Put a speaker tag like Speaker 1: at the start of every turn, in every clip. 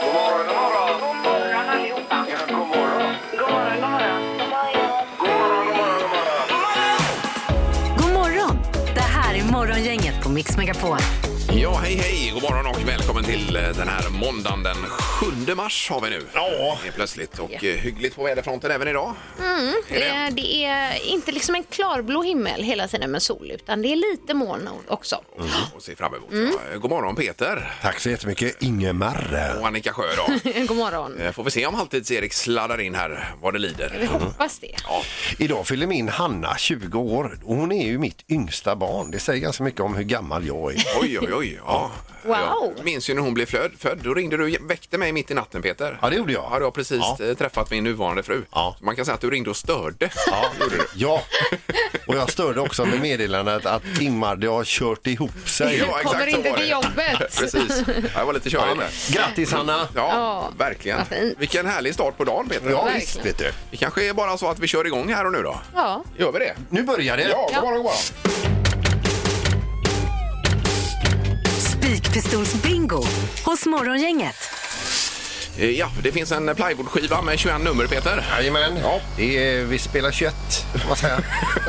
Speaker 1: God morgon, god morgon. God morgon allihopa. Ja, god morgon. God morgon, god morgon. God morgon, god morgon,
Speaker 2: God
Speaker 1: god morgon.
Speaker 2: morgon! Det här är Morgongänget på Mix Megapol.
Speaker 3: Ja, hej, hej! God morgon och välkommen till eh, den här måndagen den 7 mars har vi nu. Ja. Plötsligt. Och eh, hyggligt på väderfronten även idag. Är det?
Speaker 4: Eh, Det är inte liksom en klarblå himmel hela tiden med sol, utan det är lite moln också.
Speaker 3: Och se fram emot.
Speaker 4: Mm.
Speaker 3: Ja, eh, God morgon Peter
Speaker 5: Tack så jättemycket Ingemar.
Speaker 3: och Annika Sjö då.
Speaker 4: God morgon.
Speaker 3: Eh, mm. Får vi se om Halvtids-Erik sladdar in här vad det
Speaker 4: Vi
Speaker 3: lider.
Speaker 4: hoppas det.
Speaker 5: Idag fyller min Hanna 20 år och hon är ju mitt yngsta barn. Det säger ganska mycket om hur gammal jag är.
Speaker 3: Oj, oj, oj. Ja.
Speaker 4: Wow.
Speaker 3: Jag minns ju när hon blev flöd, född. Då ringde du väckte mig mitt i natten Peter.
Speaker 5: Ja, det gjorde jag.
Speaker 3: Ja, du har precis
Speaker 5: Ja.
Speaker 3: eh, träffat min nuvarande fru.
Speaker 5: Ja.
Speaker 3: Så man kan säga att du ringde och störde.
Speaker 5: Ja, ja. och jag störde också med meddelandet att Ingmar, det har kört ihop sig.
Speaker 3: Ja, exakt
Speaker 4: Kommer
Speaker 3: så
Speaker 4: inte
Speaker 3: var
Speaker 4: till
Speaker 3: det.
Speaker 4: jobbet.
Speaker 3: Precis. Ja, jag var lite körig där.
Speaker 5: Grattis Hanna!
Speaker 3: Ja,
Speaker 4: Ja.
Speaker 3: verkligen.
Speaker 4: Vad fint.
Speaker 3: Vilken härlig start på dagen, Peter.
Speaker 5: Ja,
Speaker 4: Verkligen.
Speaker 5: visst vet du.
Speaker 3: Det kanske är bara så att vi kör igång här och nu då.
Speaker 4: Ja.
Speaker 3: Gör vi det?
Speaker 5: Nu börjar det.
Speaker 3: Ja, god morgon, god morgon.
Speaker 2: Spikpistolsbingo hos Morgongänget.
Speaker 3: Eh, Ja, det finns en plywoodskiva med 21 nummer, Peter.
Speaker 5: Jajamän. Ja. Det är, vi spelar 21, kan man säga.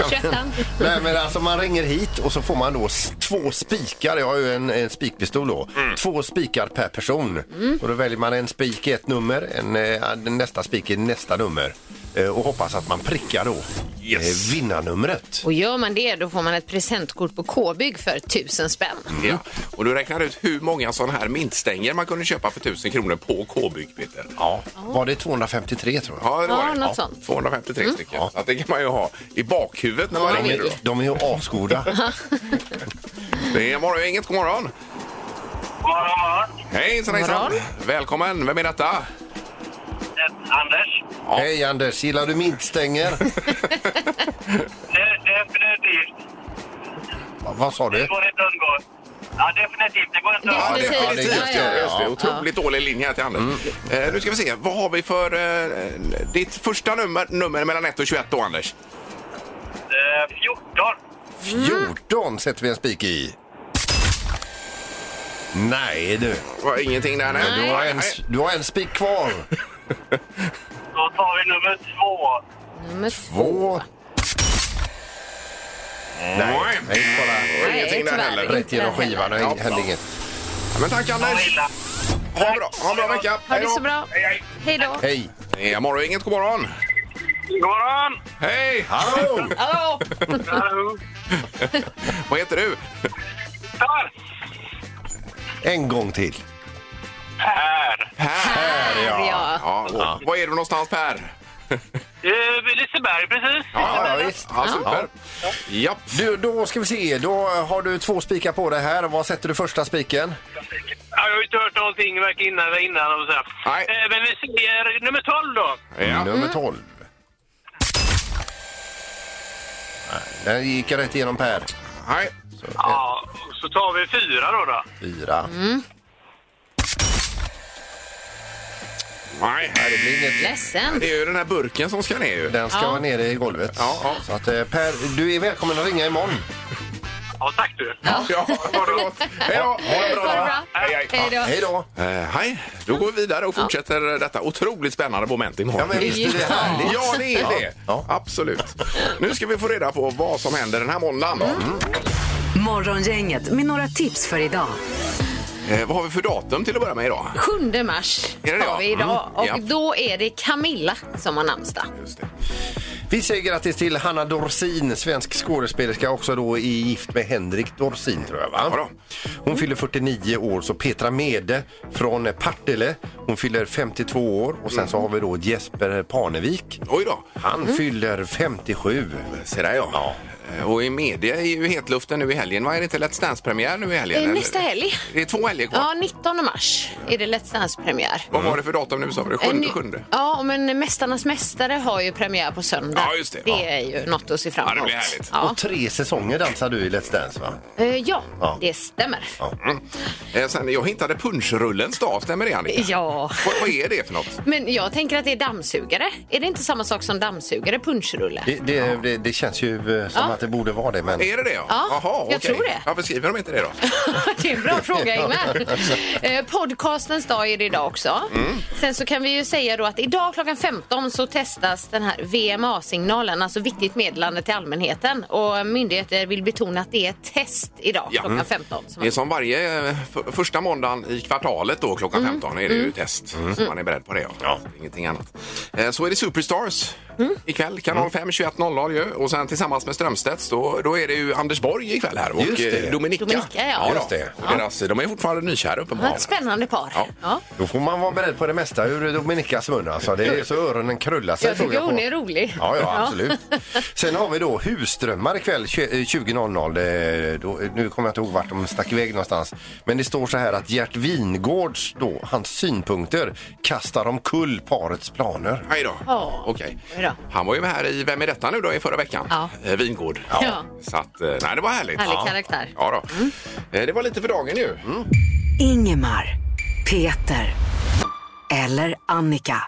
Speaker 4: Köttan.
Speaker 5: Nej, men alltså man ringer hit och så får man då s- två spikar. Jag har ju en, en spikpistol då. Två spikar per person. Och då väljer man en spik i ett nummer, en, eh, den nästa spik i nästa nummer. Eh, Och hoppas att man prickar då yes. vinnarnumret.
Speaker 4: Och gör man det, då får man ett presentkort på K-bygg för tusen spänn.
Speaker 3: Ja. Och du räknar ut hur många sådana här mintstänger man kunde köpa för 1000 kronor på K-bygg, Peter.
Speaker 5: Ja. Var det 253 tror jag?
Speaker 3: Ja, det var
Speaker 4: Ja,
Speaker 3: det.
Speaker 4: något sånt. Mm.
Speaker 3: 253 stycken.
Speaker 5: Ja.
Speaker 3: Så att det kan man ju ha i bakhuvudet när man
Speaker 4: Ja,
Speaker 3: ringer.
Speaker 4: det-
Speaker 3: Då.
Speaker 5: De är ju asgoda.
Speaker 3: Det är morgon, inget god morgon.
Speaker 1: God morgon, god morgon.
Speaker 3: Hejsan, hejsan.
Speaker 4: Morgon.
Speaker 3: Välkommen. Vem är detta?
Speaker 1: Det är Anders.
Speaker 5: Hej Anders, gillar du mintstänger?
Speaker 1: Det- Definitivt.
Speaker 5: Va- Vad sa
Speaker 1: Det
Speaker 5: du?
Speaker 1: går inte att undgå. Ja, definitivt. Det går inte att
Speaker 3: Ja,
Speaker 1: undgå.
Speaker 4: Definitivt.
Speaker 3: definitivt. det,
Speaker 5: Ja,
Speaker 3: just
Speaker 5: ja,
Speaker 3: det,
Speaker 5: ja.
Speaker 3: just det.
Speaker 5: Ja. Mm.
Speaker 3: Otroligt dålig linje här till Anders. Eh, nu ska vi se, vad har vi för eh, ditt första nummer, nummer mellan 1 och 21 då, Anders?
Speaker 1: Eh, 14.
Speaker 5: 14 sätter vi en spik i. Nej du,
Speaker 3: Var ingenting där, nej.
Speaker 5: du har en, s- du har en spik kvar.
Speaker 1: Då tar vi nummer två.
Speaker 4: Nummer
Speaker 5: Två.
Speaker 3: Nej,
Speaker 5: Nej, bara
Speaker 3: var ingenting där
Speaker 4: tyvärr.
Speaker 3: heller.
Speaker 5: rätt genom skivan. Det
Speaker 3: Ja.
Speaker 5: hände inget.
Speaker 3: Men tack,
Speaker 1: Ta
Speaker 3: Anders.
Speaker 1: illa.
Speaker 3: Ha en bra, ha en bra vecka.
Speaker 4: Ha
Speaker 3: Hej
Speaker 4: det
Speaker 3: då.
Speaker 4: så bra.
Speaker 3: Hej, hej.
Speaker 4: Hej då.
Speaker 5: Hej!
Speaker 3: Det är morgon, inget god morgon.
Speaker 1: God morgon!
Speaker 3: Hej!
Speaker 5: Hallå!
Speaker 4: Hallå!
Speaker 1: Hallå.
Speaker 3: Vad heter du?
Speaker 1: Per!
Speaker 5: En gång till.
Speaker 1: Per!
Speaker 3: Per.
Speaker 4: Här, ja.
Speaker 3: Ja, och, Var är du någonstans, Per?
Speaker 1: Eh, Liseberg, precis.
Speaker 5: Ja, ja, visst.
Speaker 3: Ja, super. Ja.
Speaker 5: Du, då ska vi se. Då har du två spikar på det här. Vad sätter du första spiken?
Speaker 1: Ja, jag har ju inte hört någonting varken innan eller innan. Och så. här.
Speaker 3: Nej.
Speaker 1: Eh, Men vi säger nummer 12 då.
Speaker 3: ja.
Speaker 5: Nummer 12. Nej, Den gick rätt igenom Per.
Speaker 3: Hej.
Speaker 1: Ja, och så tar vi fyra då. då.
Speaker 5: Fyra.
Speaker 3: Nej.
Speaker 5: Nej, det blir inget.
Speaker 4: Ledsen.
Speaker 3: Det är ju den här burken som ska ner ju.
Speaker 5: Den ska
Speaker 4: Ja.
Speaker 5: vara nere i golvet.
Speaker 3: Ja, ja.
Speaker 5: Så att, eh, per, du är välkommen att ringa imorgon.
Speaker 1: Ja, tack du.
Speaker 3: Ja, ha det gott. Hej då! Ha det
Speaker 4: Ha det bra.
Speaker 3: Hej, hej.
Speaker 4: Hej då.
Speaker 5: Hej då!
Speaker 3: Eh, hej, då går vi vidare och fortsätter detta otroligt spännande moment imorgon.
Speaker 5: Ja, men visst är det härligt?
Speaker 3: Ja, det är det.
Speaker 5: Ja.
Speaker 3: Absolut. Nu ska vi få reda på vad som händer den här måndagen. då.
Speaker 2: Morgongänget med några tips för idag.
Speaker 3: Eh, vad har vi för datum till att börja med idag?
Speaker 4: 7 mars
Speaker 3: Är det det?
Speaker 4: har vi idag
Speaker 3: Mm,
Speaker 4: och
Speaker 3: ja.
Speaker 4: då är det Camilla som har namnsdag.
Speaker 3: Just det.
Speaker 5: Vi säger grattis till Hanna Dorsin, svensk skådespelerska också då i Gift med Henrik Dorsin tror jag va?
Speaker 3: Ja då.
Speaker 5: Hon fyller 49 år, så Petra Mede från Partille, hon fyller 52 år och sen så har vi då Jesper Parnevik.
Speaker 3: Oj då.
Speaker 5: Han fyller 57.
Speaker 3: Mm. Se där ja. Eh, Och i media är ju hetluften nu i helgen. Vad är det inte Let's Dance-premiär nu i helgen?
Speaker 4: Eh,
Speaker 3: eller?
Speaker 4: nästa helg.
Speaker 3: Det är två helger kvar.
Speaker 4: Ja, 19 mars är det Let's Dance-premiär.
Speaker 3: Vad var det för datum nu sa vi? Det
Speaker 4: Eh,
Speaker 3: Sjunde,
Speaker 4: nu-
Speaker 3: sjunde?
Speaker 4: Ja, men Mästarnas mästare har ju premiär på söndag.
Speaker 3: Ja, just det.
Speaker 4: Det
Speaker 3: Ja.
Speaker 4: är ju något att se fram
Speaker 3: Ja,
Speaker 4: emot.
Speaker 3: det blir härligt.
Speaker 4: Ja,
Speaker 5: Och tre säsonger dansar du i Let's Dance va?
Speaker 4: Eh, ja,
Speaker 5: Ja.
Speaker 4: det stämmer.
Speaker 3: Eh, Sen, jag hittade punschrullens dag. Stämmer det, Annika?
Speaker 4: Ja.
Speaker 3: Vad, vad är det för något?
Speaker 4: Men jag tänker att det är dammsugare. Är det inte samma sak som dammsugare, punschrulle?
Speaker 5: Det, det, det, det känns ju eh, som
Speaker 4: Ja.
Speaker 5: att det borde vara det, men...
Speaker 3: Är det det? Ja,
Speaker 4: Ja,
Speaker 3: Jaha,
Speaker 4: jag
Speaker 3: okej.
Speaker 4: tror det.
Speaker 3: Varför skriver de inte det då?
Speaker 4: det är en bra fråga, Ingmar. Eh, Podcastens dag är det idag också.
Speaker 5: Mm.
Speaker 4: Sen så kan vi ju säga då att idag klockan 15 så testas den här VMA-signalen, alltså viktigt meddelande till allmänheten. Och myndigheter vill betona att det är ett test idag
Speaker 3: Ja.
Speaker 4: klockan 15.
Speaker 3: Det
Speaker 4: Så
Speaker 3: är
Speaker 4: man...
Speaker 3: som varje eh, f- första måndagen i kvartalet då klockan
Speaker 4: Mm.
Speaker 3: 15 är det ju test. Så man är beredd på det. Ja. Ingenting annat. Eh, Så är det Superstars
Speaker 4: Mm.
Speaker 3: ikväll. Kanal 5 21.00 ju. Och sen tillsammans med Strömstedts då, då är det ju Anders Borg ikväll här och
Speaker 5: Just det.
Speaker 3: eh, Dominika.
Speaker 4: Dominika, ja.
Speaker 5: Just det.
Speaker 3: Och Deras, de är fortfarande nykära uppenbarligen.
Speaker 4: Ett spännande par.
Speaker 3: Mm. Ja.
Speaker 4: Ja.
Speaker 5: Då får man vara beredd på det mesta ur Dominikas mun. Alltså. Det är så öronen krullar sig.
Speaker 4: Jag
Speaker 5: tror
Speaker 4: tycker
Speaker 5: på.
Speaker 4: hon är rolig.
Speaker 5: Ja, ja, absolut. Sen har vi då Husdrömmar ikväll tjugo- eh, 20.00. Det- då- Nu kommer jag inte ihåg vart de stack iväg någonstans. Men det står så här att Gert Wingårds, då, hans synpunkter kastar omkull parets planer.
Speaker 3: Hej då.
Speaker 4: Ja.
Speaker 3: Okej.
Speaker 4: Hej då.
Speaker 3: Han var ju med här i Vem är detta nu då i förra veckan?
Speaker 4: Ja.
Speaker 3: Eh, Vingård.
Speaker 4: Ja.
Speaker 3: Så att, eh, nej det var härligt.
Speaker 4: Härlig
Speaker 3: ja.
Speaker 4: karaktär. Mm.
Speaker 3: Ja då. Eh, Det var lite för dagen ju.
Speaker 2: Ingemar, Peter eller Annika.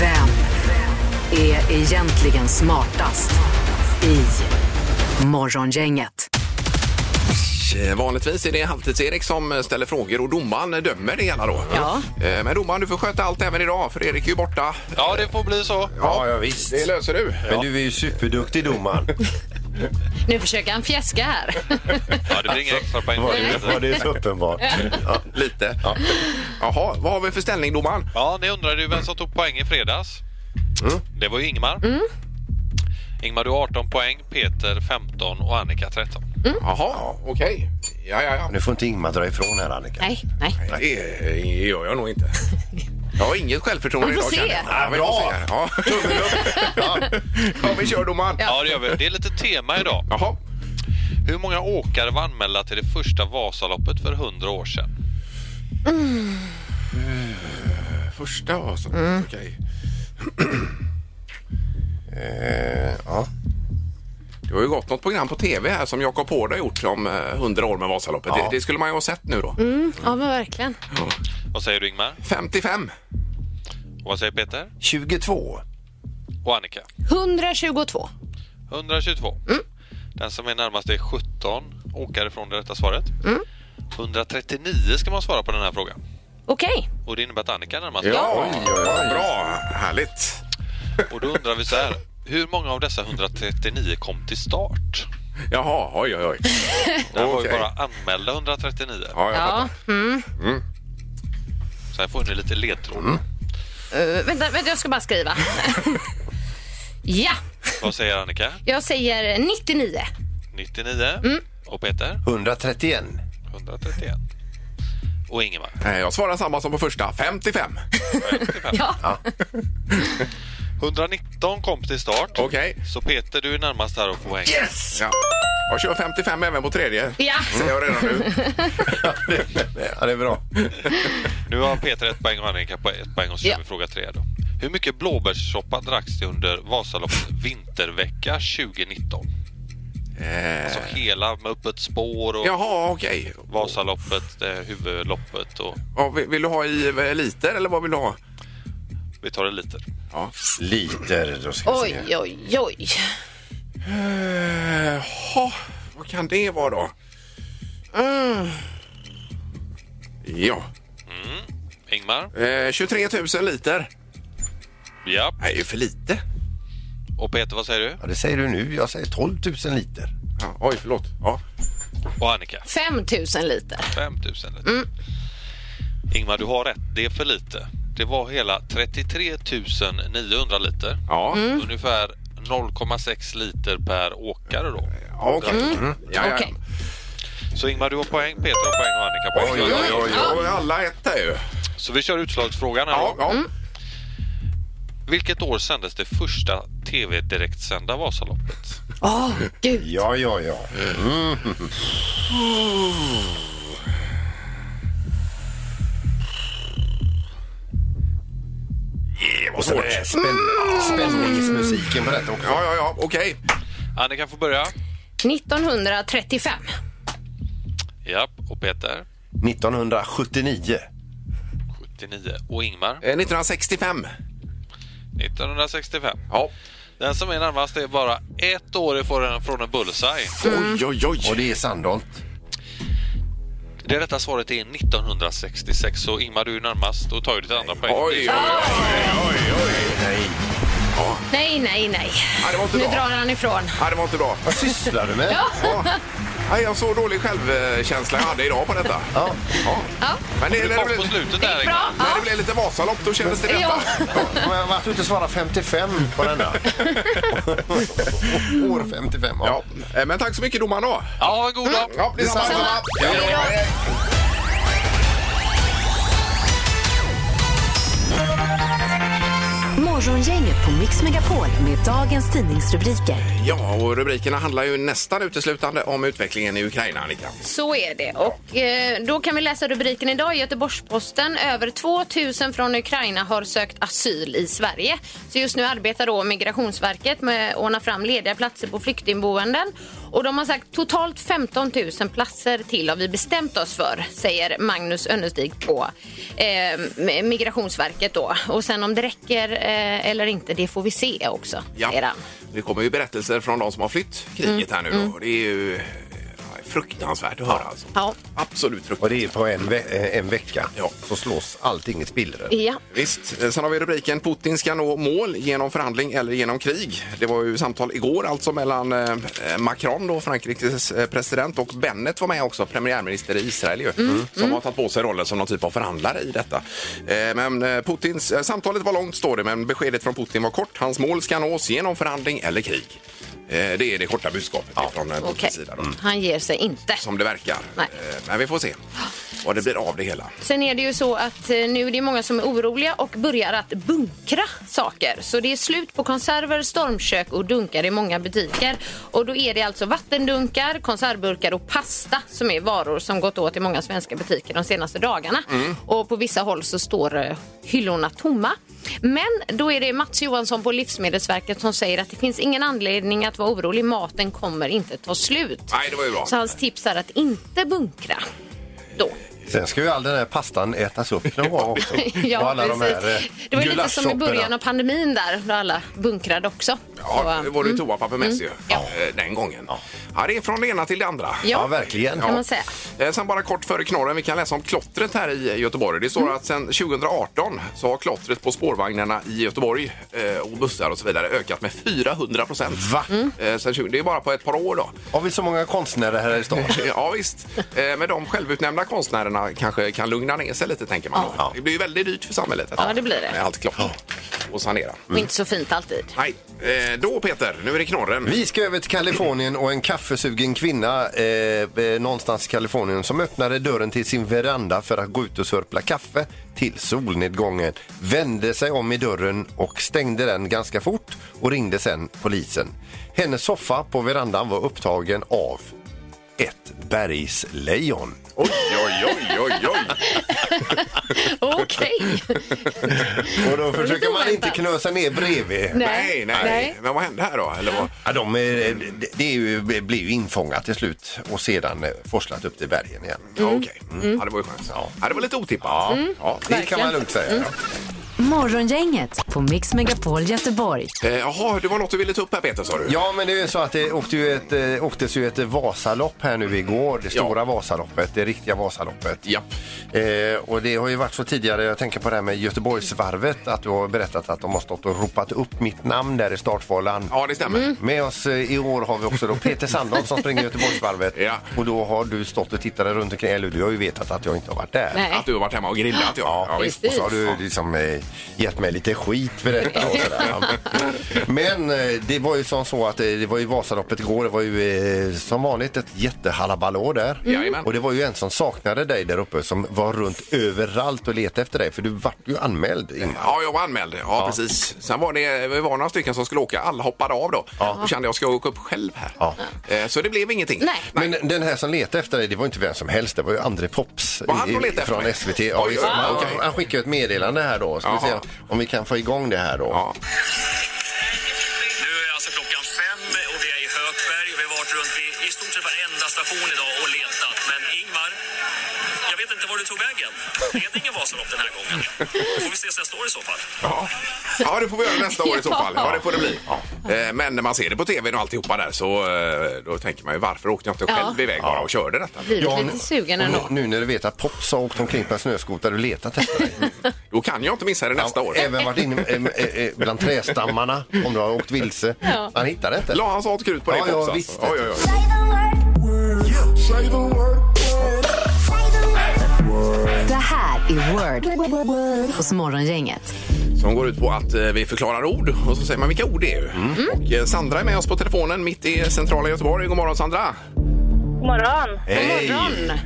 Speaker 2: Vem är egentligen smartast i Morgongänget?
Speaker 3: Eh, Vanligtvis är det Halvtids-Erik som eh, ställer frågor och domaren eh, dömer det hela då.
Speaker 4: Ja.
Speaker 3: Eh, Men domaren, du får sköta allt även idag för Erik är ju borta.
Speaker 6: Ja, det får bli så.
Speaker 5: Ja, ja visst.
Speaker 3: Det löser du.
Speaker 5: Men du är ju superduktig domaren.
Speaker 4: Nu försöker han fjäska här.
Speaker 6: Ja, det blir inga extra poäng.
Speaker 5: Var det, var det så uppenbart? Ja.
Speaker 3: Lite. Ja. Jaha, vad har vi för ställning domaren?
Speaker 6: Ja, ni undrade ju vem som tog poäng i fredags. Det var ju Ingmar. Ingmar, du har 18 poäng, Peter 15 och Annika 13.
Speaker 3: Jaha, okej. Ja, ja, ja.
Speaker 5: Nu får inte Ingmar dra ifrån här, Annika.
Speaker 4: Nej, nej.
Speaker 3: Det eh, gör jag nog inte. Jag har inget självförtroende
Speaker 4: Vi får
Speaker 3: idag.
Speaker 4: se.
Speaker 3: känner jag. Ja, vi får
Speaker 5: Bra.
Speaker 3: se. Ja. Tummen upp. Ja. ja, vi kör domaren.
Speaker 6: Ja. det gör vi. Det är lite tema idag.
Speaker 3: Jaha.
Speaker 6: Hur många åkare var anmälda till det första Vasaloppet för 100 år sedan?
Speaker 3: Första var så. Okej.
Speaker 5: Eh, ja.
Speaker 3: Det har ju gått något program på tv här som Jakob Hård har gjort om eh, 100 år med Vasaloppet. Det, det skulle man ju ha sett nu då.
Speaker 4: Ja, men verkligen.
Speaker 6: Vad säger du Ingmar?
Speaker 3: 55.
Speaker 6: Och vad säger Peter?
Speaker 5: 22.
Speaker 6: Och Annika?
Speaker 4: 122.
Speaker 6: 122. Den som är närmast är 17 åkare från det rätta svaret. 139 ska man svara på den här frågan.
Speaker 4: Okej.
Speaker 6: Och det innebär att Annika är närmast.
Speaker 3: Oj, oj, oj. Bra, härligt.
Speaker 6: Och då undrar vi så här. Hur många av dessa 139 kom till start?
Speaker 3: Jaha, oj, oj, oj.
Speaker 6: Det var ju
Speaker 3: Okej.
Speaker 6: bara anmälda 139.
Speaker 3: Ja, jag
Speaker 4: Ja.
Speaker 3: fattar.
Speaker 6: Så här får ni lite ledtråd.
Speaker 3: Mm.
Speaker 4: Eh, vänta, vänta, jag ska bara skriva. ja,
Speaker 6: Vad säger Annika?
Speaker 4: jag säger 99.
Speaker 6: 99. Och Peter?
Speaker 5: 131.
Speaker 6: 131. Och Ingemar?
Speaker 3: Nej, Eh, Jag svarar samma som på första. 55.
Speaker 6: 55.
Speaker 4: Ja.
Speaker 6: 119 kom till start.
Speaker 3: Okej.
Speaker 6: Så Peter, du är närmast här och får poäng.
Speaker 5: Yes!
Speaker 3: Ja. Jag kör 55 även på tredje.
Speaker 4: Ja.
Speaker 3: Säger jag redan nu.
Speaker 5: Ja, det är bra.
Speaker 6: Nu har Peter ett poäng och Annika på ett poäng och så kör
Speaker 4: Ja.
Speaker 6: vi fråga tre då. Hur mycket blåbärssoppa dracks det under Vasaloppets vintervecka 2019? Alltså hela med öppet spår och
Speaker 3: Eh, Äh. Jaha, okej.
Speaker 6: Vasaloppet, eh, huvudloppet och
Speaker 3: Ja, vill vill du ha i eh, liter eller vad vill du ha?
Speaker 6: vi tar det lite.
Speaker 3: Ja.
Speaker 5: Liter, då ska vi
Speaker 4: Oj,
Speaker 5: se.
Speaker 4: oj, oj.
Speaker 3: Eh, Jaha, vad kan det vara då? Mm. Ja,
Speaker 6: Ingmar?
Speaker 3: eh, 23 000 liter.
Speaker 6: Ja.
Speaker 3: Nej, det är för lite.
Speaker 6: Och Peter, vad säger du?
Speaker 5: Ja, det säger du nu. Jag säger 12 000 liter.
Speaker 3: Ja, oj, förlåt. Ja.
Speaker 6: Och Annika?
Speaker 4: 5 000 liter.
Speaker 6: 5000 liter.
Speaker 3: Mm.
Speaker 6: Ingmar, du har rätt. Det är för lite. Det var hela 33 900 liter.
Speaker 3: Ja.
Speaker 6: Ungefär 0,6 liter per åkare då.
Speaker 3: Ja, Mm. okej. Ja, ja.
Speaker 4: Okej.
Speaker 6: Så Ingmar, du har poäng, Peter har poäng och Annika har
Speaker 3: Oj,
Speaker 6: poäng.
Speaker 3: oj, oj, oj. Då är alla etta ju.
Speaker 6: Så vi kör utslagsfrågan här
Speaker 3: Ja,
Speaker 6: då.
Speaker 3: ja.
Speaker 6: Vilket år sändes det första TV-direktsända Vasaloppet?
Speaker 4: Åh, gud.
Speaker 5: Ja, ja, ja.
Speaker 3: Mm. Oh. Det var svårt. Ja,
Speaker 5: Spänn, spänningsmusiken på detta också.
Speaker 3: ja, ja. Okej.
Speaker 6: Annika får börja.
Speaker 4: 1935.
Speaker 6: Ja, och Peter
Speaker 5: 1979.
Speaker 6: 79 och Ingmar
Speaker 3: Eh, 1965.
Speaker 6: 1965.
Speaker 3: Ja.
Speaker 6: Den som är närmast är bara ett år ifrån från en bullseye.
Speaker 3: Oj, oj,
Speaker 5: Och
Speaker 3: oj.
Speaker 5: det är Sandholt.
Speaker 6: Det rätta svaret är 1966, så Ingmar du är närmast och tar ju ditt andra poäng.
Speaker 3: Oj, oj, oj, oj.
Speaker 4: Nej, nej, nej.
Speaker 3: Ja, det var inte
Speaker 4: Nu
Speaker 3: bra.
Speaker 4: drar han ifrån.
Speaker 3: Ja, det var inte bra.
Speaker 5: Vad sysslar du med?
Speaker 3: Ja. Nej, jag så dålig självkänsla jag hade idag på detta.
Speaker 5: Ja.
Speaker 4: Ja.
Speaker 3: Men det, när,
Speaker 6: Du
Speaker 3: det
Speaker 6: kom
Speaker 3: blev,
Speaker 6: på slutet där Ingmar.
Speaker 4: Bra.
Speaker 3: när det blev lite Vasalopp då kändes det
Speaker 4: Ja.
Speaker 3: detta.
Speaker 5: Men Att du inte svarar 55 på denna. År 55, ja.
Speaker 3: Ja. eh, Men tack så mycket domaren då.
Speaker 6: Ja, god dag.
Speaker 3: Ja, detsamma.
Speaker 5: Detsamma.
Speaker 3: detsamma. Ja, ja, ja.
Speaker 2: Morgongänget på Mix Megapol med dagens tidningsrubriker.
Speaker 3: Ja, och rubrikerna handlar ju nästan uteslutande om utvecklingen i Ukraina, Annika.
Speaker 4: Så är det. Och eh, då kan vi läsa rubriken idag i Göteborgs-Posten. Över 2000 från Ukraina har sökt asyl i Sverige. Så just nu arbetar då Migrationsverket med att ordna fram lediga platser på flyktingboenden. Och de har sagt totalt 15 000 platser till har vi bestämt oss för, säger Magnus Önnestig på eh, Migrationsverket då. Och sen om det räcker eh, eller inte, det får vi se också, säger han.
Speaker 3: Det kommer ju berättelser från de som har flytt kriget här nu då. Det är ju eh, fruktansvärt att höra alltså.
Speaker 4: Ja.
Speaker 3: Absolut
Speaker 5: Och
Speaker 3: fruktansvärt.
Speaker 5: det är på en, ve- eh, en vecka
Speaker 3: Ja.
Speaker 5: så slås allting i spillror.
Speaker 4: Ja.
Speaker 3: Visst. Eh, Sen har vi rubriken Putin ska nå mål genom förhandling eller genom krig. Det var ju samtal igår alltså mellan eh, Macron, då, Frankrikes eh, president, och Bennett var med också, premiärminister i Israel ju,
Speaker 4: Mm.
Speaker 3: som har tagit på sig rollen som någon typ av förhandlare i detta. Eh, Men eh, Putins, eh, samtalet var långt står det, men beskedet från Putin var kort. Hans mål ska nås genom förhandling eller krig. Eh, Det är det korta budskapet från eh, Putins
Speaker 4: Okej,
Speaker 3: sida. Då.
Speaker 4: han ger sig inte.
Speaker 3: Som det verkar.
Speaker 4: Nej.
Speaker 3: Eh, Men vi får se vad det blir av det hela.
Speaker 4: Sen är det ju så att eh, nu är det många som är oroliga och börjar att bunkra saker. Så det är slut på konserver, stormkök och dunkar i många butiker. Och då är det alltså vattendunkar, konservburkar och pasta som är varor som gått åt i många svenska butiker de senaste dagarna. Och på vissa håll så står eh, hyllorna tomma. Men då är det Mats Johansson på Livsmedelsverket som säger att det finns ingen anledning att vara orolig. Maten kommer inte ta slut.
Speaker 3: Nej, det var ju bra.
Speaker 4: Så hans tips är att inte bunkra. Då.
Speaker 5: Sen ska ju all den här pastan ätas upp någon gång också. Och
Speaker 4: Ja,
Speaker 5: alla de här, eh,
Speaker 4: precis. Det var ju lite som i
Speaker 5: gulaschsopporna.
Speaker 4: början av pandemin där, då alla bunkrade också.
Speaker 3: Ja, det
Speaker 4: Så, eh, mm.
Speaker 3: var det ju toapapper mest ju.
Speaker 4: Ja.
Speaker 3: eh, Den gången. Ja. det är från det ena till det andra.
Speaker 5: Ja,
Speaker 4: ja,
Speaker 5: verkligen.
Speaker 4: kan man säga.
Speaker 3: Eh, Sen bara kort före knorren, vi kan läsa om klottret här i Göteborg. Det står
Speaker 4: Mm.
Speaker 3: att sedan 2018 så har klottret på spårvagnarna i Göteborg eh, och bussar och så vidare ökat med 400 procent.
Speaker 5: Va?
Speaker 4: Mm.
Speaker 3: Det är bara på ett par år då.
Speaker 5: Har vi så många konstnärer här i stan?
Speaker 3: Ja visst, Eh, men de självutnämnda konstnärerna kanske kan lugna ner sig lite tänker man.
Speaker 5: Ja.
Speaker 3: Det blir ju väldigt dyrt för samhället
Speaker 4: Ja, det blir det.
Speaker 3: med allt klotter och sanera.
Speaker 4: Och inte så fint alltid.
Speaker 3: Nej, eh, då Peter, nu är det knorren.
Speaker 5: Vi ska över till Kalifornien och en kaffesugen kvinna eh, eh, någonstans i Kalifornien som öppnade dörren till sin veranda för att gå ut och sörpla kaffe till solnedgången. Vände sig om i dörren och stängde den ganska fort och ringde sen polisen. Hennes soffa på verandan var upptagen av ett bergslejon.
Speaker 3: Oj, oj, oj, oj, oj.
Speaker 4: Okej.
Speaker 5: Och då försöker man inte
Speaker 4: oväntat.
Speaker 5: knösa ner bredvid.
Speaker 3: Nej, nej.
Speaker 4: Nej.
Speaker 3: Men vad hände här då? Eller vad?
Speaker 5: Ja, de, är- det- det är ju, blir ju infångat till slut och sedan eh, forslat upp till bergen igen.
Speaker 3: Ja, Okej, Mm. ja, det var ju skönt. Ja. det var lite otippat. Ja. Ja.
Speaker 5: Det kan man lugnt säga. ja.
Speaker 2: Morgongänget på Mix Megapol Göteborg.
Speaker 3: Eh, Jaha, det var något du ville ta upp här Peter sa du?
Speaker 5: Ja, men det är ju så att det åkte ju ett, eh, åktes ju ett Vasalopp här nu igår. Det
Speaker 3: Ja.
Speaker 5: stora Vasaloppet, det riktiga Vasaloppet.
Speaker 3: Japp.
Speaker 5: Eh, och det har ju varit så tidigare, jag tänker på det här med Göteborgsvarvet, att du har berättat att de har stått och ropat upp mitt namn där i startfållan.
Speaker 3: Ja, det stämmer.
Speaker 5: Med oss eh, i år har vi också då Peter Sandholm som springer Göteborgsvarvet.
Speaker 3: Ja.
Speaker 5: Och då har du stått och tittat runt omkring, eller du har ju vetat att jag inte har varit där.
Speaker 4: Nej.
Speaker 3: Att du har varit hemma och grillat ja. ja visst.
Speaker 5: Och så har du liksom eh, gett mig lite skit för detta och sådär. Men eh, det var ju som så att eh, det var ju Vasaloppet igår. Det var ju eh, som vanligt ett jättehallabalå där.
Speaker 3: Mm. Jajamän.
Speaker 5: Och det var ju en som saknade dig där uppe som var runt överallt och letade efter dig. För du vart ju anmäld Ingmar.
Speaker 3: Ja, jag var anmäld. Ja, precis. Sen var det, vi var några stycken som skulle åka. Alla hoppade av då. Då kände jag, ska jag åka upp själv här?
Speaker 5: Ja.
Speaker 3: Eh, Så det blev ingenting.
Speaker 4: Nej.
Speaker 5: Men den här som letade efter dig, det var inte vem som helst. Det var ju André Pops
Speaker 3: Var han
Speaker 5: i-
Speaker 3: och letade efter
Speaker 5: från
Speaker 3: mig?
Speaker 5: SVT. Ja,
Speaker 3: Oj,
Speaker 5: visst.
Speaker 3: wow.
Speaker 5: han,
Speaker 3: Okej.
Speaker 5: han skickade ett meddelande här då. Ska vi
Speaker 3: Jaha.
Speaker 5: se om vi kan få igång det här då.
Speaker 3: Ja.
Speaker 7: Nu är alltså klockan fem och vi är i Hökberg. Vi har varit runt vid i stort sett varenda station idag och letat. Men Ingmar, jag vet inte var du tog vägen. Blev det ingen Vasalopp den här gången? Då får vi se så jag står i så fall.
Speaker 3: Ja. ja, det får vi göra nästa år i så fall. Ja, det får det bli. Eh, Men när man ser det på tv och alltihopa där så eh, då tänker man ju varför åkte jag inte själv
Speaker 4: Ja.
Speaker 3: iväg bara och körde detta?
Speaker 4: Blir
Speaker 5: Ja,
Speaker 4: du lite sugen
Speaker 5: och nu-
Speaker 4: ändå?
Speaker 5: Nu när du vet att Pops har åkt omkring på en snöskoter och letat efter dig.
Speaker 3: Då kan jag inte missa det nästa år.
Speaker 5: Även varit inne eh, eh, eh, bland trädstammarna om du har åkt vilse.
Speaker 4: Ja.
Speaker 5: Man hittar det inte.
Speaker 3: La han sånt krut på det
Speaker 5: Ja, ja,
Speaker 3: Pops, alltså?
Speaker 5: visst.
Speaker 3: Oj, oj, oj.
Speaker 2: Det här är Word hos Morgongänget.
Speaker 3: Som går ut på att eh, vi förklarar ord och så säger man vilka ord det är.
Speaker 5: Mm.
Speaker 3: Och eh, Sandra är med oss på telefonen mitt i centrala Göteborg. God morgon Sandra!
Speaker 8: God morgon.
Speaker 5: Hej!
Speaker 4: Morgon.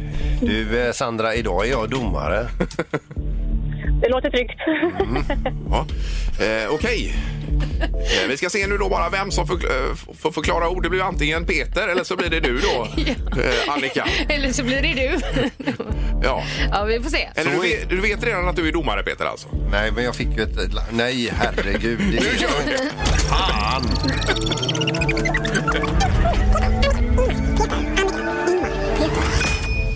Speaker 5: Du eh, Sandra, idag är jag domare.
Speaker 8: Det låter tryggt.
Speaker 3: Ja. Eh, Okej. Eh, Vi ska se nu då bara vem som förk- eh, f- får förklara ord. Det blir ju antingen Peter eller så blir det du då, eh, Annika.
Speaker 4: Eller så blir det du.
Speaker 3: Ja.
Speaker 4: ja, vi får se.
Speaker 3: Eller du vet, du vet redan att du är domare Peter alltså?
Speaker 5: Nej, men jag fick ju ett... Nej, herregud. Det
Speaker 3: Nu
Speaker 5: är...
Speaker 3: kör vi!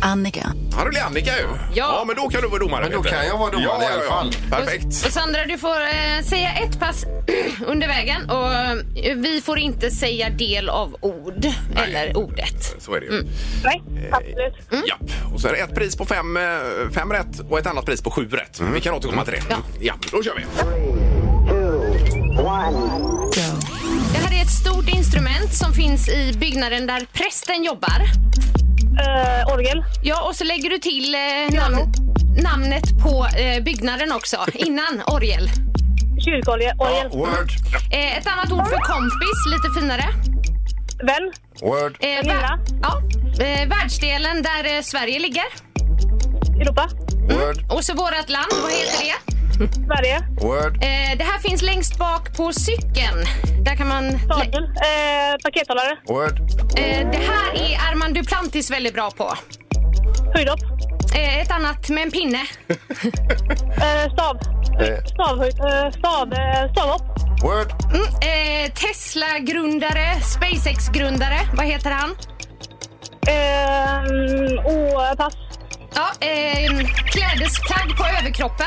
Speaker 9: Annika.
Speaker 3: Ja, det blir Annika ju. Ja. men då kan du vara domare
Speaker 5: Men då
Speaker 3: Peter.
Speaker 5: kan jag vara domare
Speaker 3: ja,
Speaker 5: i alla fall.
Speaker 3: Ja, ja. Perfekt.
Speaker 4: Och Sandra, du får eh, säga ett pass under vägen och eh, vi får inte säga del av ord eller ordet.
Speaker 3: Så är det
Speaker 4: Mm.
Speaker 3: ju.
Speaker 8: Nej, absolut.
Speaker 3: Ja, och så är det ett pris på fem, eh, fem rätt och ett annat pris på sju rätt.
Speaker 5: Mm.
Speaker 3: Vi kan återkomma till det. Ja. då kör vi.
Speaker 4: Det här är ett stort instrument som finns i byggnaden där prästen jobbar.
Speaker 8: Eh, orgel.
Speaker 4: Ja, och så lägger du till eh, namn, namnet på eh, byggnaden också innan orgel.
Speaker 8: Kyrkorgel. Orgel.
Speaker 5: Word.
Speaker 4: Eh, ett annat ord för kompis, lite finare.
Speaker 8: Vän.
Speaker 5: Word.
Speaker 4: Eh,
Speaker 8: Pernilla.
Speaker 4: ja, eh, världsdelen där eh, Sverige ligger.
Speaker 8: Europa.
Speaker 5: Word.
Speaker 4: Och så vårt land, vad heter det?
Speaker 8: Sverige.
Speaker 5: Word.
Speaker 4: Eh, det här finns längst bak på cykeln. Där kan man...
Speaker 8: Sadel. Eh, pakethållare.
Speaker 5: Word.
Speaker 4: Eh, det här är Armand Duplantis väldigt bra på.
Speaker 8: Höjdhopp.
Speaker 4: Eh, ett annat med en pinne.
Speaker 8: Eh, stav.
Speaker 5: Eh.
Speaker 8: Stavhöjd. Eh, stav. Eh, stavhopp.
Speaker 5: Word.
Speaker 4: Mm. Eh, Tesla-grundare, SpaceX-grundare. Vad heter han?
Speaker 8: Eh, oh, pass.
Speaker 4: Ja, eh, klädesplagg på överkroppen.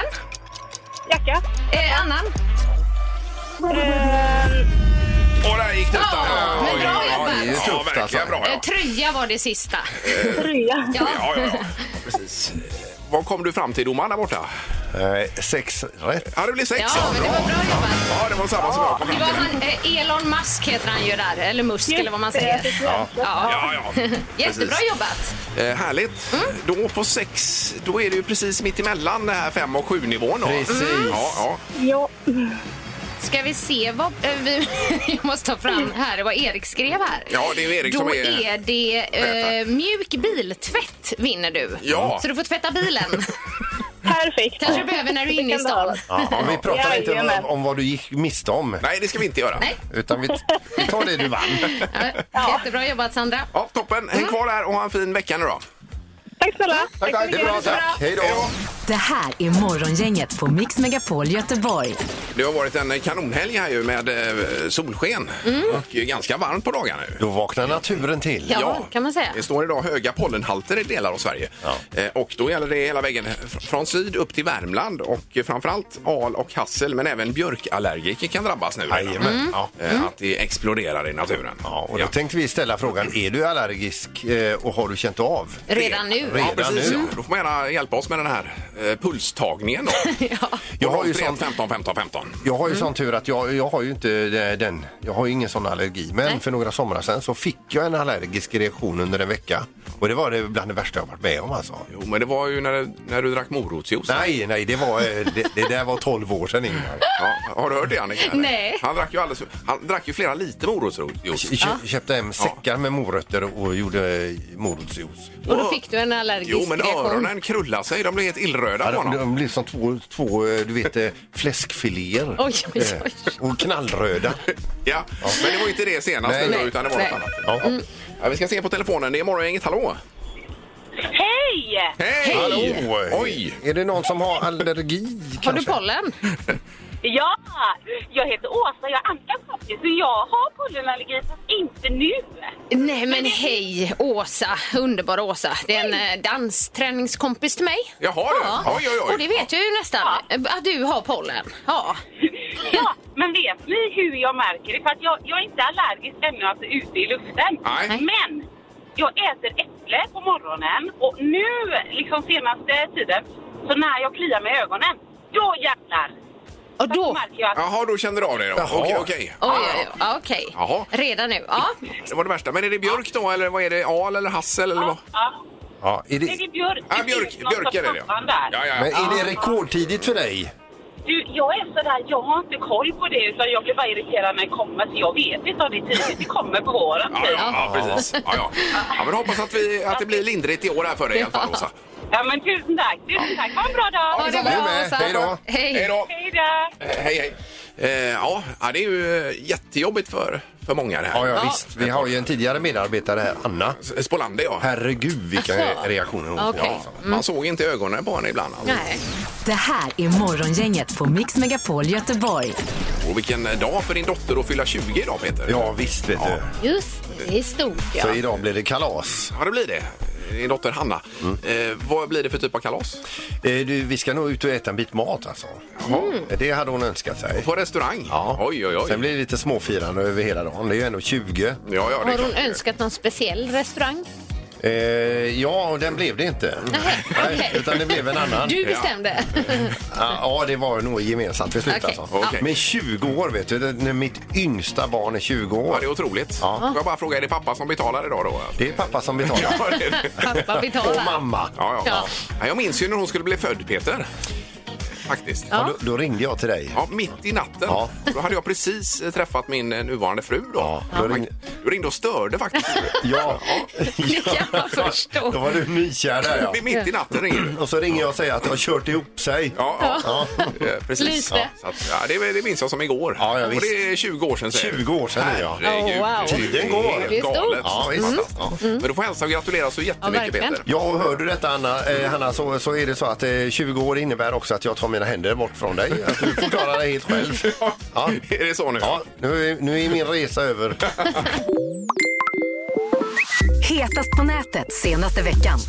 Speaker 8: Jacka.
Speaker 4: Eh, annan.
Speaker 8: Eh,
Speaker 3: Och där gick det
Speaker 4: Ja,
Speaker 3: utan.
Speaker 4: men bra jobbat.
Speaker 5: det är ju tufft,
Speaker 3: Ja, verkligen
Speaker 5: alltså.
Speaker 3: bra.
Speaker 4: Eh,
Speaker 3: Ja.
Speaker 4: tröja var det sista.
Speaker 8: tröja.
Speaker 4: Ja.
Speaker 3: Ja, ja, ja. Precis. Eh, Vad kom du fram till domaren där borta?
Speaker 5: Eh, sex rätt.
Speaker 3: Ja, det blev sex.
Speaker 4: Ja, men det var bra jobbat.
Speaker 3: Ja, det var samma som jag kom
Speaker 4: Det
Speaker 3: fram
Speaker 4: var
Speaker 3: till.
Speaker 4: han, eh, Elon Musk heter han ju där, eller Musk eller vad man säger.
Speaker 8: Ja.
Speaker 4: Ja.
Speaker 3: Ja, ja.
Speaker 4: Jättebra jobbat.
Speaker 3: Eh, härligt.
Speaker 4: Mm.
Speaker 3: Då på sex, då är det ju precis mitt emellan det här fem och sju nivån. Då.
Speaker 5: Precis.
Speaker 3: Ja, ja.
Speaker 8: ja.
Speaker 4: Ska vi se vad... eh, Vi, jag måste ta fram här vad Erik skrev här.
Speaker 3: Ja, det är ju Erik
Speaker 4: Då
Speaker 3: som är-
Speaker 4: är det eh, mjuk biltvätt vinner du.
Speaker 3: Ja.
Speaker 4: Så du får tvätta bilen.
Speaker 8: Perfekt.
Speaker 4: Kanske du behöver när du är inne i stan.
Speaker 5: Ja, vi pratar inte om,
Speaker 8: Jajamän.
Speaker 5: om vad du gick miste om.
Speaker 3: Nej, det ska vi inte göra.
Speaker 4: Nej.
Speaker 5: Utan vi, vi tar det du vann.
Speaker 4: Ja. Jättebra jobbat Sandra.
Speaker 3: Ja, toppen.
Speaker 4: Mm.
Speaker 3: Häng kvar där och ha en fin vecka nu då.
Speaker 8: Tack snälla.
Speaker 5: Tack, tack.
Speaker 8: så
Speaker 5: Det
Speaker 8: mycket.
Speaker 5: är bra, tack. Hej
Speaker 3: Hej
Speaker 5: då.
Speaker 3: då.
Speaker 2: Det här är Morgongänget på Mix Megapol Göteborg.
Speaker 3: Det har varit en kanonhelg här ju med eh, solsken och ju ganska varmt på dagarna nu.
Speaker 5: Då vaknar naturen till.
Speaker 4: Mm. Ja, kan man säga.
Speaker 3: Det står idag höga pollenhalter i delar av Sverige. Eh, och då gäller det hela vägen fr- från syd upp till Värmland och eh, framförallt al och hassel men även björkallergiker kan drabbas nu. redan.
Speaker 5: Jajamän.
Speaker 4: Mm.
Speaker 5: Ja.
Speaker 3: Eh, Att det exploderar i naturen.
Speaker 5: Ja, och då
Speaker 3: Ja.
Speaker 5: tänkte vi ställa frågan, är du allergisk eh, och har du känt av?
Speaker 4: Redan nu.
Speaker 3: Ja,
Speaker 5: Redan
Speaker 3: precis.
Speaker 5: nu.
Speaker 3: Ja. Då får man gärna hjälpa oss med den här eh, pulstagningen. Då.
Speaker 5: Jag har ju
Speaker 3: 03
Speaker 5: sånt-
Speaker 3: 15 15 15.
Speaker 5: Jag har ju
Speaker 4: Mm.
Speaker 5: sån tur att jag, jag har ju inte eh, den, jag har ju ingen sån allergi. Men för några somrar sedan så fick jag en allergisk reaktion under en vecka. Och det var det bland det värsta jag varit med om alltså.
Speaker 3: Jo, men det var ju när, när du drack morotsjuice.
Speaker 5: Nej, nej, det, var, eh, det, det där var 12 år sedan Ingmar.
Speaker 3: Ja, har du hört det Annika? eller?
Speaker 4: Nej.
Speaker 3: Han drack ju, alldeles, han drack ju flera liter morotsjuice.
Speaker 5: Kö- kö- köpte hem säckar med morötter och gjorde eh, morotsjuice.
Speaker 4: Och då fick du en allergisk
Speaker 3: Jo, men
Speaker 4: reaktion.
Speaker 3: öronen krullade sig. De blev helt illröda på
Speaker 5: Ja, de,
Speaker 3: honom.
Speaker 5: de blev som två, två eh, du vet, eh, fläskfiléer.
Speaker 4: Oj, oj, oj.
Speaker 5: Eh, Och knallröda.
Speaker 3: Ja, men det var ju inte det senaste
Speaker 5: Nej.
Speaker 3: då, utan det var något
Speaker 4: Nej.
Speaker 3: annat.
Speaker 5: Ja.
Speaker 4: Mm.
Speaker 3: Ja, vi ska se på telefonen. Det är Morgongänget. Hallå!
Speaker 8: Hej!
Speaker 3: Hej! Oj!
Speaker 5: Oj! Är det någon som har allergi?
Speaker 4: Har du
Speaker 5: kanske?
Speaker 4: pollen?
Speaker 8: Ja, jag heter Åsa. Jag är Ankas mycket så jag har pollenallergi, fast inte nu.
Speaker 4: Nej men hej Åsa, underbara Åsa. Det är en eh, dansträningskompis till mig.
Speaker 3: Jaha du. Oj, oj, oj.
Speaker 4: Och det vet jag ju nästan eh, att du har pollen. Ja.
Speaker 8: Ja, men vet ni hur jag märker det? För att jag, jag är inte allergisk ännu alltså ute i luften.
Speaker 3: Nej.
Speaker 8: Men jag äter äpple på morgonen och nu, liksom senaste tiden, så när jag kliar med ögonen, då jävlar!
Speaker 4: Och
Speaker 8: Då
Speaker 4: då...
Speaker 8: märker jag att
Speaker 3: Jaha, då kände du av det då?
Speaker 5: Jaha.
Speaker 3: Okej, okej.
Speaker 4: Oj,
Speaker 3: Ja,
Speaker 4: oj, oj. Okej.
Speaker 3: Jaha.
Speaker 4: Redan nu. Ja.
Speaker 3: Det var det värsta. Men är det björk då eller vad är det? Al eller hassel eller vad?
Speaker 8: ja,
Speaker 5: Ja, är
Speaker 8: är
Speaker 5: det,
Speaker 8: det björk?
Speaker 3: Ja,
Speaker 8: Det
Speaker 3: björk,
Speaker 8: finns något
Speaker 3: björk är det ja.
Speaker 8: samband där.
Speaker 3: ja, ja,
Speaker 5: men
Speaker 3: ja.
Speaker 5: är det rekordtidigt för dig?
Speaker 8: Du, jag är sådär, jag har inte koll på det utan jag blir bara irriterad när det kommer så jag vet inte om det är tidigt, det kommer på våren. typ.
Speaker 3: Ja, ja, ja, precis. Ja, ja. ja, men hoppas att, vi, att det blir lindrigt i år här för dig i alla fall, Åsa.
Speaker 8: Ja, men tusen tack, tusen tack, ha en bra dag!
Speaker 4: Ha det
Speaker 5: Du
Speaker 4: bra
Speaker 5: med.
Speaker 4: Åsa.
Speaker 5: Hej då.
Speaker 3: Hej
Speaker 4: Hej.
Speaker 3: då!
Speaker 8: Hej då!
Speaker 3: Eh, Hej, hej. Eh, Ja, ja, det är ju eh, jättejobbigt för, för många det här.
Speaker 5: Ja, ja, visst. Vi har ju en tidigare medarbetare här, Anna.
Speaker 3: S- Spolander, ja.
Speaker 5: Herregud vilka
Speaker 4: Jaså?
Speaker 5: reaktioner hon får.
Speaker 4: Okej.
Speaker 5: alltså.
Speaker 3: Man såg inte ögonen på henne ibland. Alltså.
Speaker 4: Nej.
Speaker 2: Det här är Morgongänget på Mix Megapol Göteborg.
Speaker 3: Och vilken eh, dag för din dotter att fylla 20 idag, Peter.
Speaker 5: Ja, visst vet du.
Speaker 4: Just det, det är stort ja.
Speaker 5: Så idag blir det kalas.
Speaker 3: Ja, det blir det. Din dotter Hanna.
Speaker 5: Mm.
Speaker 3: Eh, vad blir det för typ av kalas?
Speaker 5: Eh, du, Vi ska nog ut och äta en bit mat alltså.
Speaker 4: Mm.
Speaker 5: Det hade hon önskat sig.
Speaker 3: På restaurang? Ja. Oj, oj, oj.
Speaker 5: Sen blir det lite småfirande över hela dagen. Det är ju ändå 20.
Speaker 3: Ja, ja, det är
Speaker 4: Har hon
Speaker 3: klart.
Speaker 4: önskat någon speciell restaurang?
Speaker 5: Eh, ja, den blev det inte.
Speaker 4: Nej, okej.
Speaker 5: Utan det blev en annan.
Speaker 4: Du bestämde.
Speaker 5: Ja, ja, det var nog gemensamt beslut
Speaker 4: Okej.
Speaker 5: alltså.
Speaker 3: Okej.
Speaker 5: Men 20 år vet du, det- när mitt yngsta barn är 20
Speaker 3: Ja,
Speaker 5: år.
Speaker 3: det är otroligt.
Speaker 5: Ja.
Speaker 3: Får jag bara fråga, är det pappa som betalar idag då?
Speaker 5: Det är pappa som betalar.
Speaker 3: Ja, det är det.
Speaker 4: Pappa
Speaker 5: Och
Speaker 4: betalar.
Speaker 5: mamma.
Speaker 3: Ja, ja.
Speaker 4: Ja.
Speaker 3: Ja, Jag minns ju när hon skulle bli född, Peter. Faktiskt.
Speaker 4: Ja.
Speaker 3: Ja.
Speaker 5: Då, då ringde jag till dig.
Speaker 3: mitt i natten.
Speaker 5: Ja.
Speaker 3: Då hade jag precis eh, träffat min eh, nuvarande fru. Då.
Speaker 5: Ja, då ringde-
Speaker 3: Du ringde och störde faktiskt.
Speaker 5: Ja.
Speaker 4: Det kan jag förstå.
Speaker 5: Då var du nykär där ja.
Speaker 3: Mitt i natten ringer du.
Speaker 5: Och så ringer jag och säger att jag har kört ihop sig.
Speaker 3: Ja, ja. Eh, precis.
Speaker 4: Lite.
Speaker 3: Ja, så att, ja, det, det minns jag som igår.
Speaker 5: Ja, ja,
Speaker 3: och
Speaker 5: visst.
Speaker 3: det är 20 år sedan. säger du.
Speaker 5: 20 år sedan, ja.
Speaker 3: Herregud,
Speaker 4: Oh, wow.
Speaker 3: det är ju
Speaker 5: Tiden går.
Speaker 3: helt
Speaker 4: Det är stort.
Speaker 3: galet.
Speaker 5: Ja, visst.
Speaker 3: Ja. Men du får hälsa och gratulera så jättemycket,
Speaker 4: verkligen.
Speaker 3: Peter.
Speaker 5: Ja, och hör du detta Anna, eh, Hanna så, så är det så att eh, 20 år innebär också att jag tar mina händer bort från dig. Att du får klara dig helt själv. Ja.
Speaker 3: Är det så nu?
Speaker 5: Ja, nu är, nu är min resa över.
Speaker 2: Hetast på nätet senaste veckan.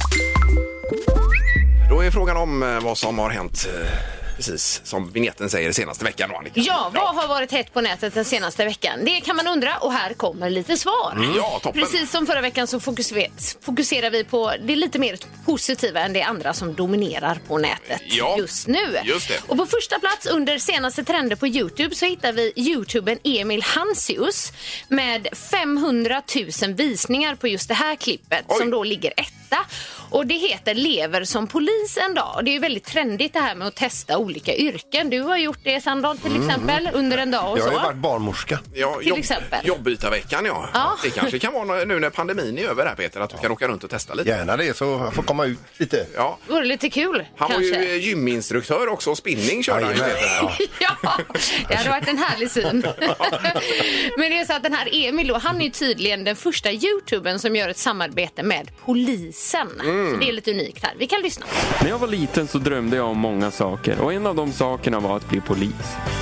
Speaker 3: Då är frågan om eh, vad som har hänt eh, precis som vignetten säger senaste veckan. då, Annika.
Speaker 4: Ja, vad har varit hett på nätet den senaste veckan? Det kan man undra och här kommer lite svar.
Speaker 3: Mm. Ja, toppen.
Speaker 4: Precis som förra veckan så fokuser- fokuserar vi på det lite mer positiva än det andra som dominerar på nätet
Speaker 3: Ja,
Speaker 4: just nu.
Speaker 3: just det.
Speaker 4: Och på första plats under senaste trender på Youtube så hittar vi Youtubern Emil Hansius med 500 000 visningar på just det här klippet
Speaker 3: Oj.
Speaker 4: som då ligger etta. Och det heter Lever som polis en dag. Och det är ju väldigt trendigt det här med att testa olika yrken. Du har gjort det Sandal till exempel under en dag och
Speaker 5: Jag har
Speaker 4: så.
Speaker 5: ju varit barnmorska.
Speaker 3: Ja,
Speaker 4: till exempel.
Speaker 3: Jobbytarveckan, ja.
Speaker 4: Ja.
Speaker 3: Det kanske kan vara nå- nu när pandemin är över här, Peter, att du kan åka runt och testa lite.
Speaker 5: Gärna det så jag får komma ut lite.
Speaker 3: Ja.
Speaker 4: Vore lite kul
Speaker 3: Han var
Speaker 4: kanske.
Speaker 3: ju eh, gyminstruktör också och spinning körde han ju.
Speaker 5: Jajamän.
Speaker 3: Peter.
Speaker 5: Ja.
Speaker 4: Ja, det hade varit en härlig syn. Men det är så att den här Emil då, han är ju tydligen den första youtubern som gör ett samarbete med polisen.
Speaker 3: Mm.
Speaker 4: Så det är lite unikt här. Vi kan lyssna.
Speaker 10: När jag var liten så drömde jag om många saker och en av de sakerna var att bli polis.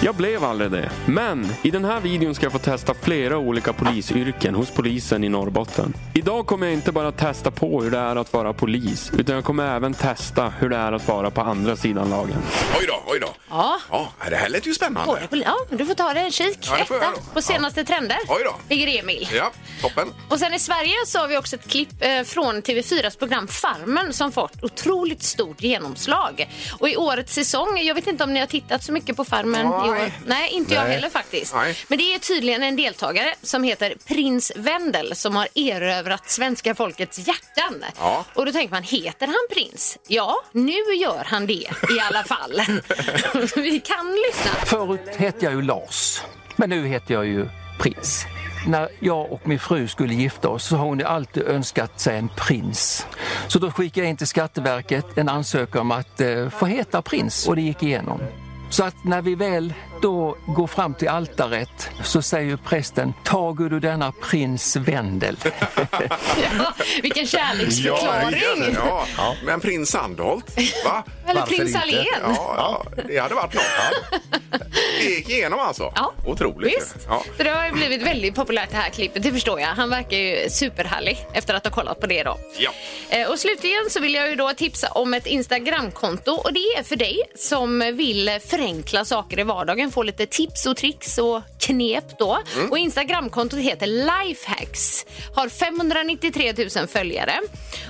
Speaker 10: Jag blev aldrig det. Men i den här videon ska jag få testa flera olika polisyrken hos polisen i Norrbotten. Idag kommer jag inte bara testa på hur det är att vara polis utan jag kommer även testa hur det är att vara på andra sidan lagen.
Speaker 3: Oj då, oj då.
Speaker 4: Ja.
Speaker 3: ja. Det här lät ju
Speaker 4: Både
Speaker 3: spännande.
Speaker 4: poli- Ja, men du får ta dig en kik.
Speaker 3: Ja, det får jag
Speaker 4: Etta
Speaker 3: då.
Speaker 4: på senaste trender
Speaker 3: Oj då.
Speaker 4: ligger Emil.
Speaker 3: Ja, toppen.
Speaker 4: Och sen i Sverige så har vi också ett klipp eh, från TV4s program Farmen som fått otroligt stort genomslag. Och i årets säsong, jag vet inte om ni har tittat så mycket på Farmen i år.
Speaker 3: Nej.
Speaker 4: Nej, inte jag
Speaker 5: Nej.
Speaker 4: heller faktiskt.
Speaker 3: Nej.
Speaker 4: Men det är tydligen en deltagare som heter Prins Wendel som har erövrat svenska folkets hjärtan.
Speaker 3: Ja.
Speaker 4: Och då tänker man, heter han prins? Ja, nu gör han det i alla fall. vi kan lyssna.
Speaker 11: Förut hette jag ju Lars, men nu heter jag ju Prins. När jag och min fru skulle gifta oss så har hon ju alltid önskat sig en prins. Så då skickade jag in till Skatteverket en ansökan om att eh, få heta prins och det gick igenom. Så att när vi väl då går fram till altaret så säger ju prästen, tager du denna prins vändel?
Speaker 4: Ja, vilken kärleksförklaring.
Speaker 3: verkligen. Ja. Men prins Sandholt, va?
Speaker 4: Eller
Speaker 5: Varför
Speaker 4: prins
Speaker 5: inte?
Speaker 4: Alén.
Speaker 3: Ja, ja, det hade varit något. Det gick igenom alltså?
Speaker 4: Ja.
Speaker 3: Otroligt. ju.
Speaker 4: Visst.
Speaker 3: Ja.
Speaker 4: Så det har ju blivit väldigt populärt det här klippet, det förstår jag. Han verkar ju superhärlig efter att ha kollat på det då.
Speaker 3: Ja.
Speaker 4: Eh, Och slutligen så vill jag ju då tipsa om ett Instagramkonto och det är för dig som vill förenkla saker i vardagen, få lite tips och tricks och knep då.
Speaker 3: Mm.
Speaker 4: Och Instagramkontot heter Lifehacks, har 593 000 följare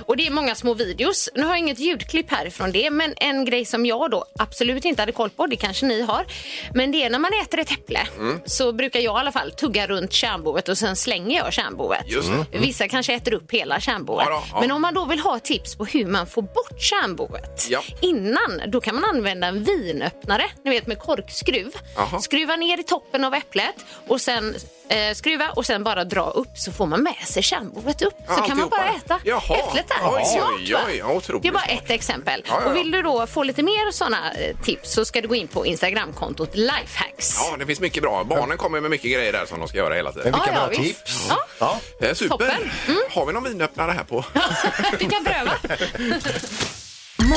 Speaker 4: och det är många små videos. Nu har jag inget ljudklipp härifrån det, men en grej som jag då absolut inte hade koll på, det kanske ni har, men det är när man äter ett äpple
Speaker 1: Mm.
Speaker 4: så brukar jag i alla fall tugga runt kärnboet och sen slänger jag kärnboet.
Speaker 1: Just det. Mm.
Speaker 4: Vissa kanske äter upp hela kärnboet.
Speaker 1: Ja då, ja.
Speaker 4: Men om man då vill ha tips på hur man får bort kärnboet
Speaker 1: Ja.
Speaker 4: innan, då kan man använda en vinöppnare, ni vet med korkskruv.
Speaker 1: Jaha.
Speaker 4: Skruva ner i toppen av äpplet och sen eh, skruva och sen bara dra upp så får man med sig kärnboet upp. Så kan man
Speaker 3: alltihopa.
Speaker 4: bara äta
Speaker 3: Ah, Jaha.
Speaker 4: äpplet där.
Speaker 3: Oj,
Speaker 4: Smart,
Speaker 3: oj,
Speaker 4: va?
Speaker 3: oj, otroligt
Speaker 4: Det är bara ett exempel.
Speaker 3: Ja, ja, ja.
Speaker 4: Och vill du då få lite mer sådana tips så ska du gå in på Instagramkontot lifehacks.
Speaker 3: Ja, det finns mycket bra. Barnen kommer med mycket grejer där som de ska göra hela tiden.
Speaker 4: Men vilka Ja, ja, bra visst. tips. Ja.
Speaker 3: Eh, Super.
Speaker 4: Toppen. Mm.
Speaker 3: Har vi någon vinöppnare här på?
Speaker 4: Vi kan pröva.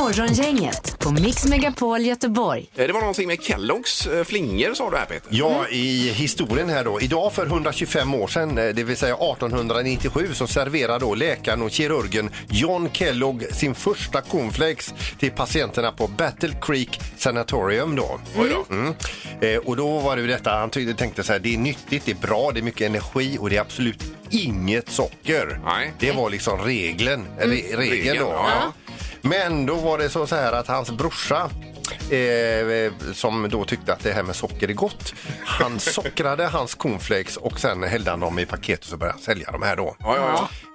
Speaker 2: Morgongänget på Mix Megapol Göteborg.
Speaker 3: Eh, Det var någonting med Kelloggs eh, flingor sa du här Peter.
Speaker 5: Ja, i historien här då. Idag för 125 år sedan, eh, det vill säga 1897, så serverar då läkaren och kirurgen John Kellogg sin första cornflakes till patienterna på Battle Creek Sanatorium då. Mm. Eh, och då var det ju detta, han tyckte, tänkte så här, det är nyttigt, det är bra, det är mycket energi och det är absolut inget socker. Det var liksom regeln. Re- regeln
Speaker 3: Regeln,
Speaker 5: då.
Speaker 3: ja, ja.
Speaker 5: Men då var det så så här att hans brorsa Eh, som då tyckte att det här med socker är gott. Han sockrade hans cornflakes och sen hällde han dem i paket och så började han sälja de här då.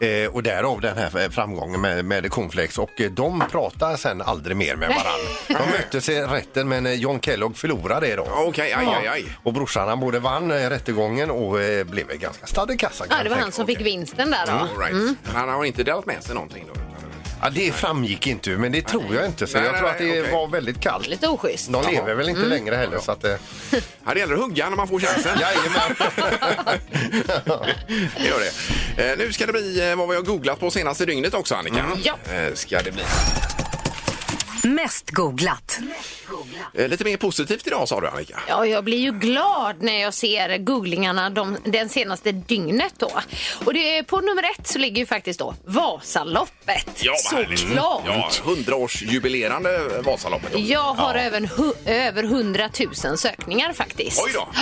Speaker 5: Eh, och därav den här framgången med, med cornflakes och eh, de pratar sen aldrig mer med varandra. De möttes i rätten men eh, John Kellogg förlorade det då.
Speaker 3: Okej, aj, aj, aj.
Speaker 5: Och brorsan han både vann eh, rättegången och eh, blev en ganska stadd i kassan. kan
Speaker 4: Ja, det
Speaker 5: jag
Speaker 4: var
Speaker 5: tänka.
Speaker 4: han som fick vinsten där då.
Speaker 5: Mm.
Speaker 3: All right. Men han har inte delat med sig någonting då?
Speaker 5: Ja, det framgick inte men det tror jag inte. Så
Speaker 3: Nej,
Speaker 5: jag
Speaker 3: nej,
Speaker 5: tror att
Speaker 3: nej,
Speaker 5: det
Speaker 3: okej.
Speaker 5: var väldigt kallt.
Speaker 4: Lite oschysst.
Speaker 5: De lever väl inte längre heller så att eh,
Speaker 3: Ja, det gäller att hugga när man får chansen. det gör det. Eh, Nu ska det bli eh, vad vi har googlat på senaste dygnet också Annika.
Speaker 5: Mm.
Speaker 4: Ja.
Speaker 3: Eh, Ska det bli.
Speaker 2: Mest googlat.
Speaker 3: Eh, Lite mer positivt idag sa du Annika.
Speaker 4: Ja, jag blir ju glad när jag ser googlingarna de, den senaste dygnet då. Och det, på nummer ett så ligger ju faktiskt då Vasaloppet.
Speaker 3: Ja, vad härligt.
Speaker 4: Såklart!
Speaker 3: Ja, 100-årsjubilerande Vasaloppet. då.
Speaker 4: Jag har även hu- över 100 000 sökningar faktiskt.
Speaker 3: Oj då.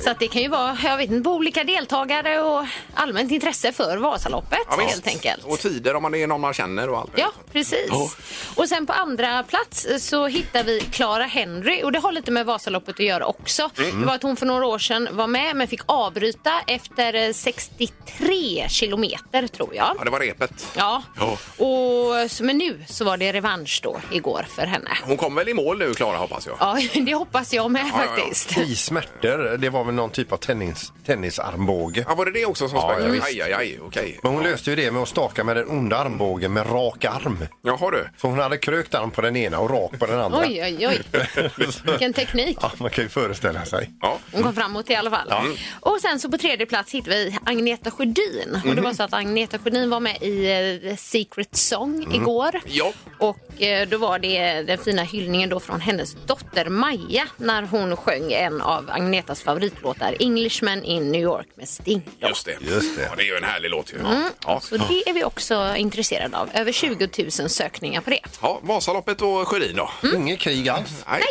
Speaker 4: Så att det kan ju vara, jag vet inte, på olika deltagare och allmänt intresse för Vasaloppet
Speaker 3: Ja, visst.
Speaker 4: helt enkelt.
Speaker 3: Och tider om man är någon man känner och allt.
Speaker 4: Ja, precis.
Speaker 3: Ja.
Speaker 4: Och sen på andra plats så hittar vi Clara Henry och det har lite med Vasaloppet att göra också.
Speaker 1: Mm.
Speaker 4: Det var att hon för några år sedan var med men fick avbryta efter eh, 63 kilometer tror jag.
Speaker 3: Ja, det var repet.
Speaker 4: Ja.
Speaker 3: Ja.
Speaker 4: Och, så- men nu så var det revansch då igår för henne.
Speaker 3: Hon kom väl i mål nu, Klara, hoppas jag.
Speaker 4: Ja, det hoppas jag med
Speaker 3: Ja, ja, ja.
Speaker 4: faktiskt.
Speaker 5: i smärtor. Det var väl någon typ av tennis, tennisarmbåge.
Speaker 3: Ja, var det det också som
Speaker 5: Ja,
Speaker 3: sprack?
Speaker 5: ja,
Speaker 3: aj,
Speaker 5: visst.
Speaker 3: aj, aj, okej.
Speaker 5: Men hon löste ju det med att staka med den onda armbågen med rak arm.
Speaker 3: Jaha du.
Speaker 5: Så hon hade krökt arm på den ena och rak på den andra.
Speaker 4: Oj, oj, oj. Vilken teknik.
Speaker 5: ja, man kan ju föreställa sig.
Speaker 3: Ja.
Speaker 4: Hon kom framåt i alla fall.
Speaker 5: Ja.
Speaker 4: Och sen så på tredje plats hittar vi Agneta Sjödin. Och det var så att Agneta Sjödin var med i eh, The Secret Song igår.
Speaker 1: Ja.
Speaker 4: Och eh, då var det den fina hyllningen då från hennes dotter Maja när hon sjöng en av Agnetas favoritlåtar Englishman in New York med Sting.
Speaker 3: Just det. Just det. Ja, det är ju en härlig låt ju.
Speaker 4: Mm.
Speaker 3: Ja.
Speaker 4: Så det är vi också intresserade av. Över 20 000 sökningar på det.
Speaker 3: ja, Vasaloppet och Sjödin då?
Speaker 5: Inget krig alls.
Speaker 3: Nej.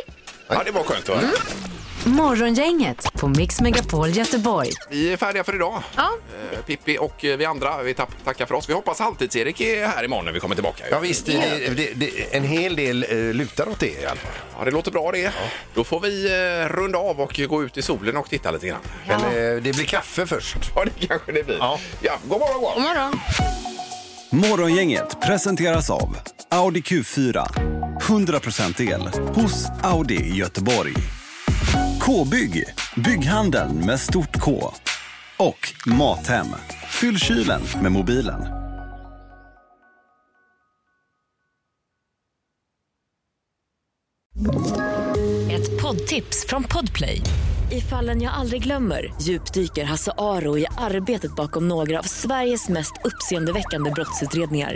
Speaker 3: Ja, det var skönt att höra.
Speaker 2: Morgongänget på Mix Megapol Göteborg.
Speaker 3: Vi är färdiga för idag.
Speaker 4: Ja.
Speaker 3: Eh, Pippi och eh, vi andra, vi tapp- tackar för oss. Vi hoppas Halvtids-Erik är här imorgon när vi kommer tillbaka. ju.
Speaker 5: Ja, visst, det, det, det, en hel del eh, lutar åt det i alla fall.
Speaker 3: Ja, det låter bra det. Då får vi eh, runda av och gå ut i solen och titta lite grann.
Speaker 5: Men eh, det blir kaffe först.
Speaker 3: Ja, det kanske det blir. Ja, ja god morgon, god morgon.
Speaker 4: God morgon.
Speaker 12: Morgongänget presenteras av Audi Q4. 100% el hos Audi Göteborg. K-bygg, bygghandeln med stort K. Och Mathem, fyll kylen med mobilen.
Speaker 13: Ett poddtips från Podplay. I fallen jag aldrig glömmer djupdyker Hasse Aro i arbetet bakom några av Sveriges mest uppseendeväckande brottsutredningar.